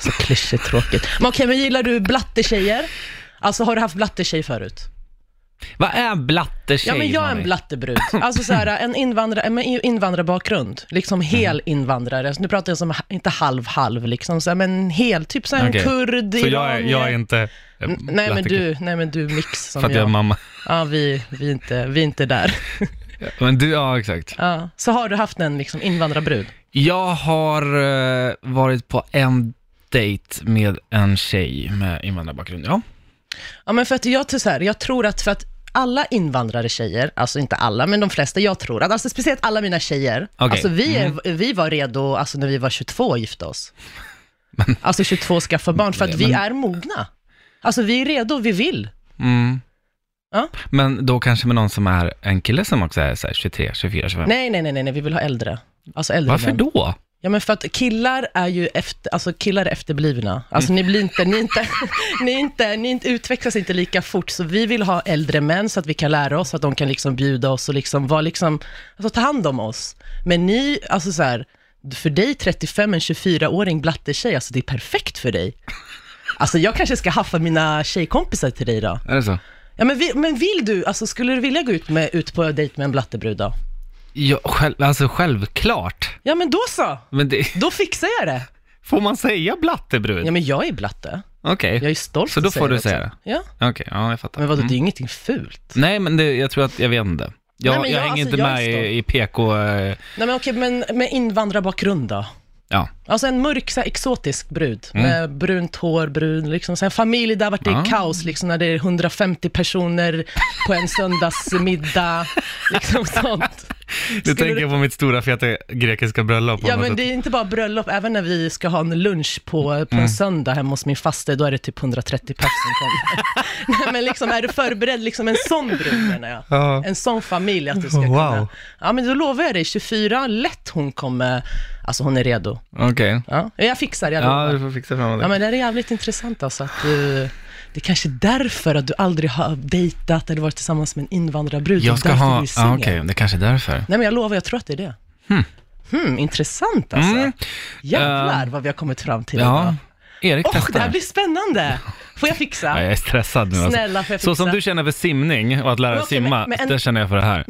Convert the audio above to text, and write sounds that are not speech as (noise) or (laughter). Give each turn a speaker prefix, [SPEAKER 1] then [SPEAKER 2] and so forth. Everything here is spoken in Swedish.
[SPEAKER 1] så klyschigt tråkigt. Alltså, Men okej, men gillar du blattetjejer? Alltså har du haft blattetjej förut?
[SPEAKER 2] Vad är en blattetjej?
[SPEAKER 1] Ja, men jag är en
[SPEAKER 2] Malin?
[SPEAKER 1] blattebrud. Alltså så här, en invandrare, med invandrarbakgrund, liksom
[SPEAKER 2] Mm.
[SPEAKER 1] hel invandrare. Så Nu pratar jag som, ha- inte halv-halv liksom, så här, men hel, typ så här, en
[SPEAKER 2] Okej.
[SPEAKER 1] kurd,
[SPEAKER 2] Så jag är,
[SPEAKER 1] iranier.
[SPEAKER 2] jag är inte... eh,
[SPEAKER 1] N- Nej men,
[SPEAKER 2] blattekille.
[SPEAKER 1] du, nej men du mix som
[SPEAKER 2] För att jag är
[SPEAKER 1] jag. (laughs)
[SPEAKER 2] mamma.
[SPEAKER 1] Ja, vi, vi, är inte, vi är inte där.
[SPEAKER 2] Men du, ja exakt.
[SPEAKER 1] Ja. Så har du haft en liksom, invandrarbrud?
[SPEAKER 2] Jag har eh, varit på en dejt med en tjej med invandrarbakgrund, ja.
[SPEAKER 1] Ja, men för att jag tror så här, jag tror att för att alla invandrare tjejer, alltså inte alla, men de flesta jag tror, att, alltså speciellt alla mina tjejer,
[SPEAKER 2] Okej. Mm.
[SPEAKER 1] alltså vi, är, vi var redo, alltså när vi var 22 och gifte
[SPEAKER 2] (laughs)
[SPEAKER 1] oss. alltså 22 och skaffa barn, för att vi
[SPEAKER 2] Men-
[SPEAKER 1] är mogna. Alltså vi är redo, vi vill.
[SPEAKER 2] Mm.
[SPEAKER 1] Ja.
[SPEAKER 2] Men då kanske med någon som är en kille som också är så här 23, 24, 25.
[SPEAKER 1] Nej, nej, nej, nej, nej, vi vill ha äldre. Alltså äldre
[SPEAKER 2] Varför
[SPEAKER 1] män.
[SPEAKER 2] då?
[SPEAKER 1] Ja men för att killar är ju efter, alltså killar är efterblivna. Alltså ni blir inte, ni, är inte, (laughs) ni, är inte, ni är inte, utvecklas inte lika fort. Så vi vill ha äldre män så att vi kan lära oss, så att de kan liksom bjuda oss och liksom vara liksom, alltså ta hand om oss. Men ni, alltså så här, för dig 35, en 24-åring blattetjej, alltså det är perfekt för dig. Alltså jag kanske ska haffa mina tjejkompisar till dig då.
[SPEAKER 2] Är det så?
[SPEAKER 1] Ja men, vi, men vill du, alltså skulle du vilja gå ut, med, ut på dejt med en blattebrud då?
[SPEAKER 2] Ja, själv, alltså självklart.
[SPEAKER 1] Ja men då så,
[SPEAKER 2] Men det,
[SPEAKER 1] då fixar jag det.
[SPEAKER 2] får man säga blattebrud?
[SPEAKER 1] Ja men jag är blatte.
[SPEAKER 2] Okej.
[SPEAKER 1] Jag är stolt
[SPEAKER 2] Så då
[SPEAKER 1] att
[SPEAKER 2] får du
[SPEAKER 1] också.
[SPEAKER 2] säga det? Mm.
[SPEAKER 1] Ja,
[SPEAKER 2] Okej, ja jag fattar.
[SPEAKER 1] men vadå, det är ingenting fult.
[SPEAKER 2] Nej, men det, jag tror att, jag vet inte. Jag,
[SPEAKER 1] Typ. Nej, men
[SPEAKER 2] jag
[SPEAKER 1] jag-
[SPEAKER 2] hänger
[SPEAKER 1] alltså,
[SPEAKER 2] inte
[SPEAKER 1] jag är
[SPEAKER 2] med
[SPEAKER 1] stolt.
[SPEAKER 2] i, i PK... eh,
[SPEAKER 1] Nej men okej, men med invandrarbakgrund då?
[SPEAKER 2] Ja.
[SPEAKER 1] Alltså en mörk, så här, exotisk brud
[SPEAKER 2] Mm.
[SPEAKER 1] med brunt hår, brun, liksom. Så en familj där vart det är
[SPEAKER 2] Ah.
[SPEAKER 1] kaos, liksom när det är 150 personer på en söndagsmiddag, (laughs) liksom sånt.
[SPEAKER 2] Du
[SPEAKER 1] Skulle
[SPEAKER 2] tänker på mitt stora feta grekiska bröllop på
[SPEAKER 1] Ja
[SPEAKER 2] något
[SPEAKER 1] men
[SPEAKER 2] sätt.
[SPEAKER 1] det är inte bara bröllop, även när vi ska ha en lunch på, på en
[SPEAKER 2] Mm.
[SPEAKER 1] söndag hemma hos min faster, då är det typ 130 pers som kommer.
[SPEAKER 2] (laughs)
[SPEAKER 1] Nej men liksom, är du förberedd, liksom en sån brud menar jag.
[SPEAKER 2] Ja. Oh,
[SPEAKER 1] En sån familj att du ska
[SPEAKER 2] Wow.
[SPEAKER 1] kunna. Ja men då lovar jag dig, 24, lätt hon kommer, alltså hon är redo.
[SPEAKER 2] Okej.
[SPEAKER 1] Ja, jag fixar, jag
[SPEAKER 2] Ja,
[SPEAKER 1] lovar.
[SPEAKER 2] du
[SPEAKER 1] Ja,
[SPEAKER 2] får fixa fram det.
[SPEAKER 1] men det här är jävligt intressant alltså att du, det är kanske är därför att du aldrig har dejtat eller varit tillsammans med en invandrarbrud.
[SPEAKER 2] jag
[SPEAKER 1] och
[SPEAKER 2] ska
[SPEAKER 1] därför
[SPEAKER 2] ha...
[SPEAKER 1] du är
[SPEAKER 2] Ja,
[SPEAKER 1] singel.
[SPEAKER 2] okej, det kanske är därför.
[SPEAKER 1] Nej men jag lovar, jag tror att det är det. Hmm. intressant alltså.
[SPEAKER 2] Mm. Eh,
[SPEAKER 1] Jävlar vad vi har kommit fram till idag.
[SPEAKER 2] Ja. Erik
[SPEAKER 1] Åh, det här
[SPEAKER 2] testar.
[SPEAKER 1] blir spännande! Får jag
[SPEAKER 2] Ja,
[SPEAKER 1] fixa?
[SPEAKER 2] jag är stressad nu alltså.
[SPEAKER 1] Snälla, får jag fixa?
[SPEAKER 2] Så som du känner för simning och att lära
[SPEAKER 1] Men
[SPEAKER 2] dig
[SPEAKER 1] okej,
[SPEAKER 2] simma,
[SPEAKER 1] men- men en-
[SPEAKER 2] det känner jag för det här.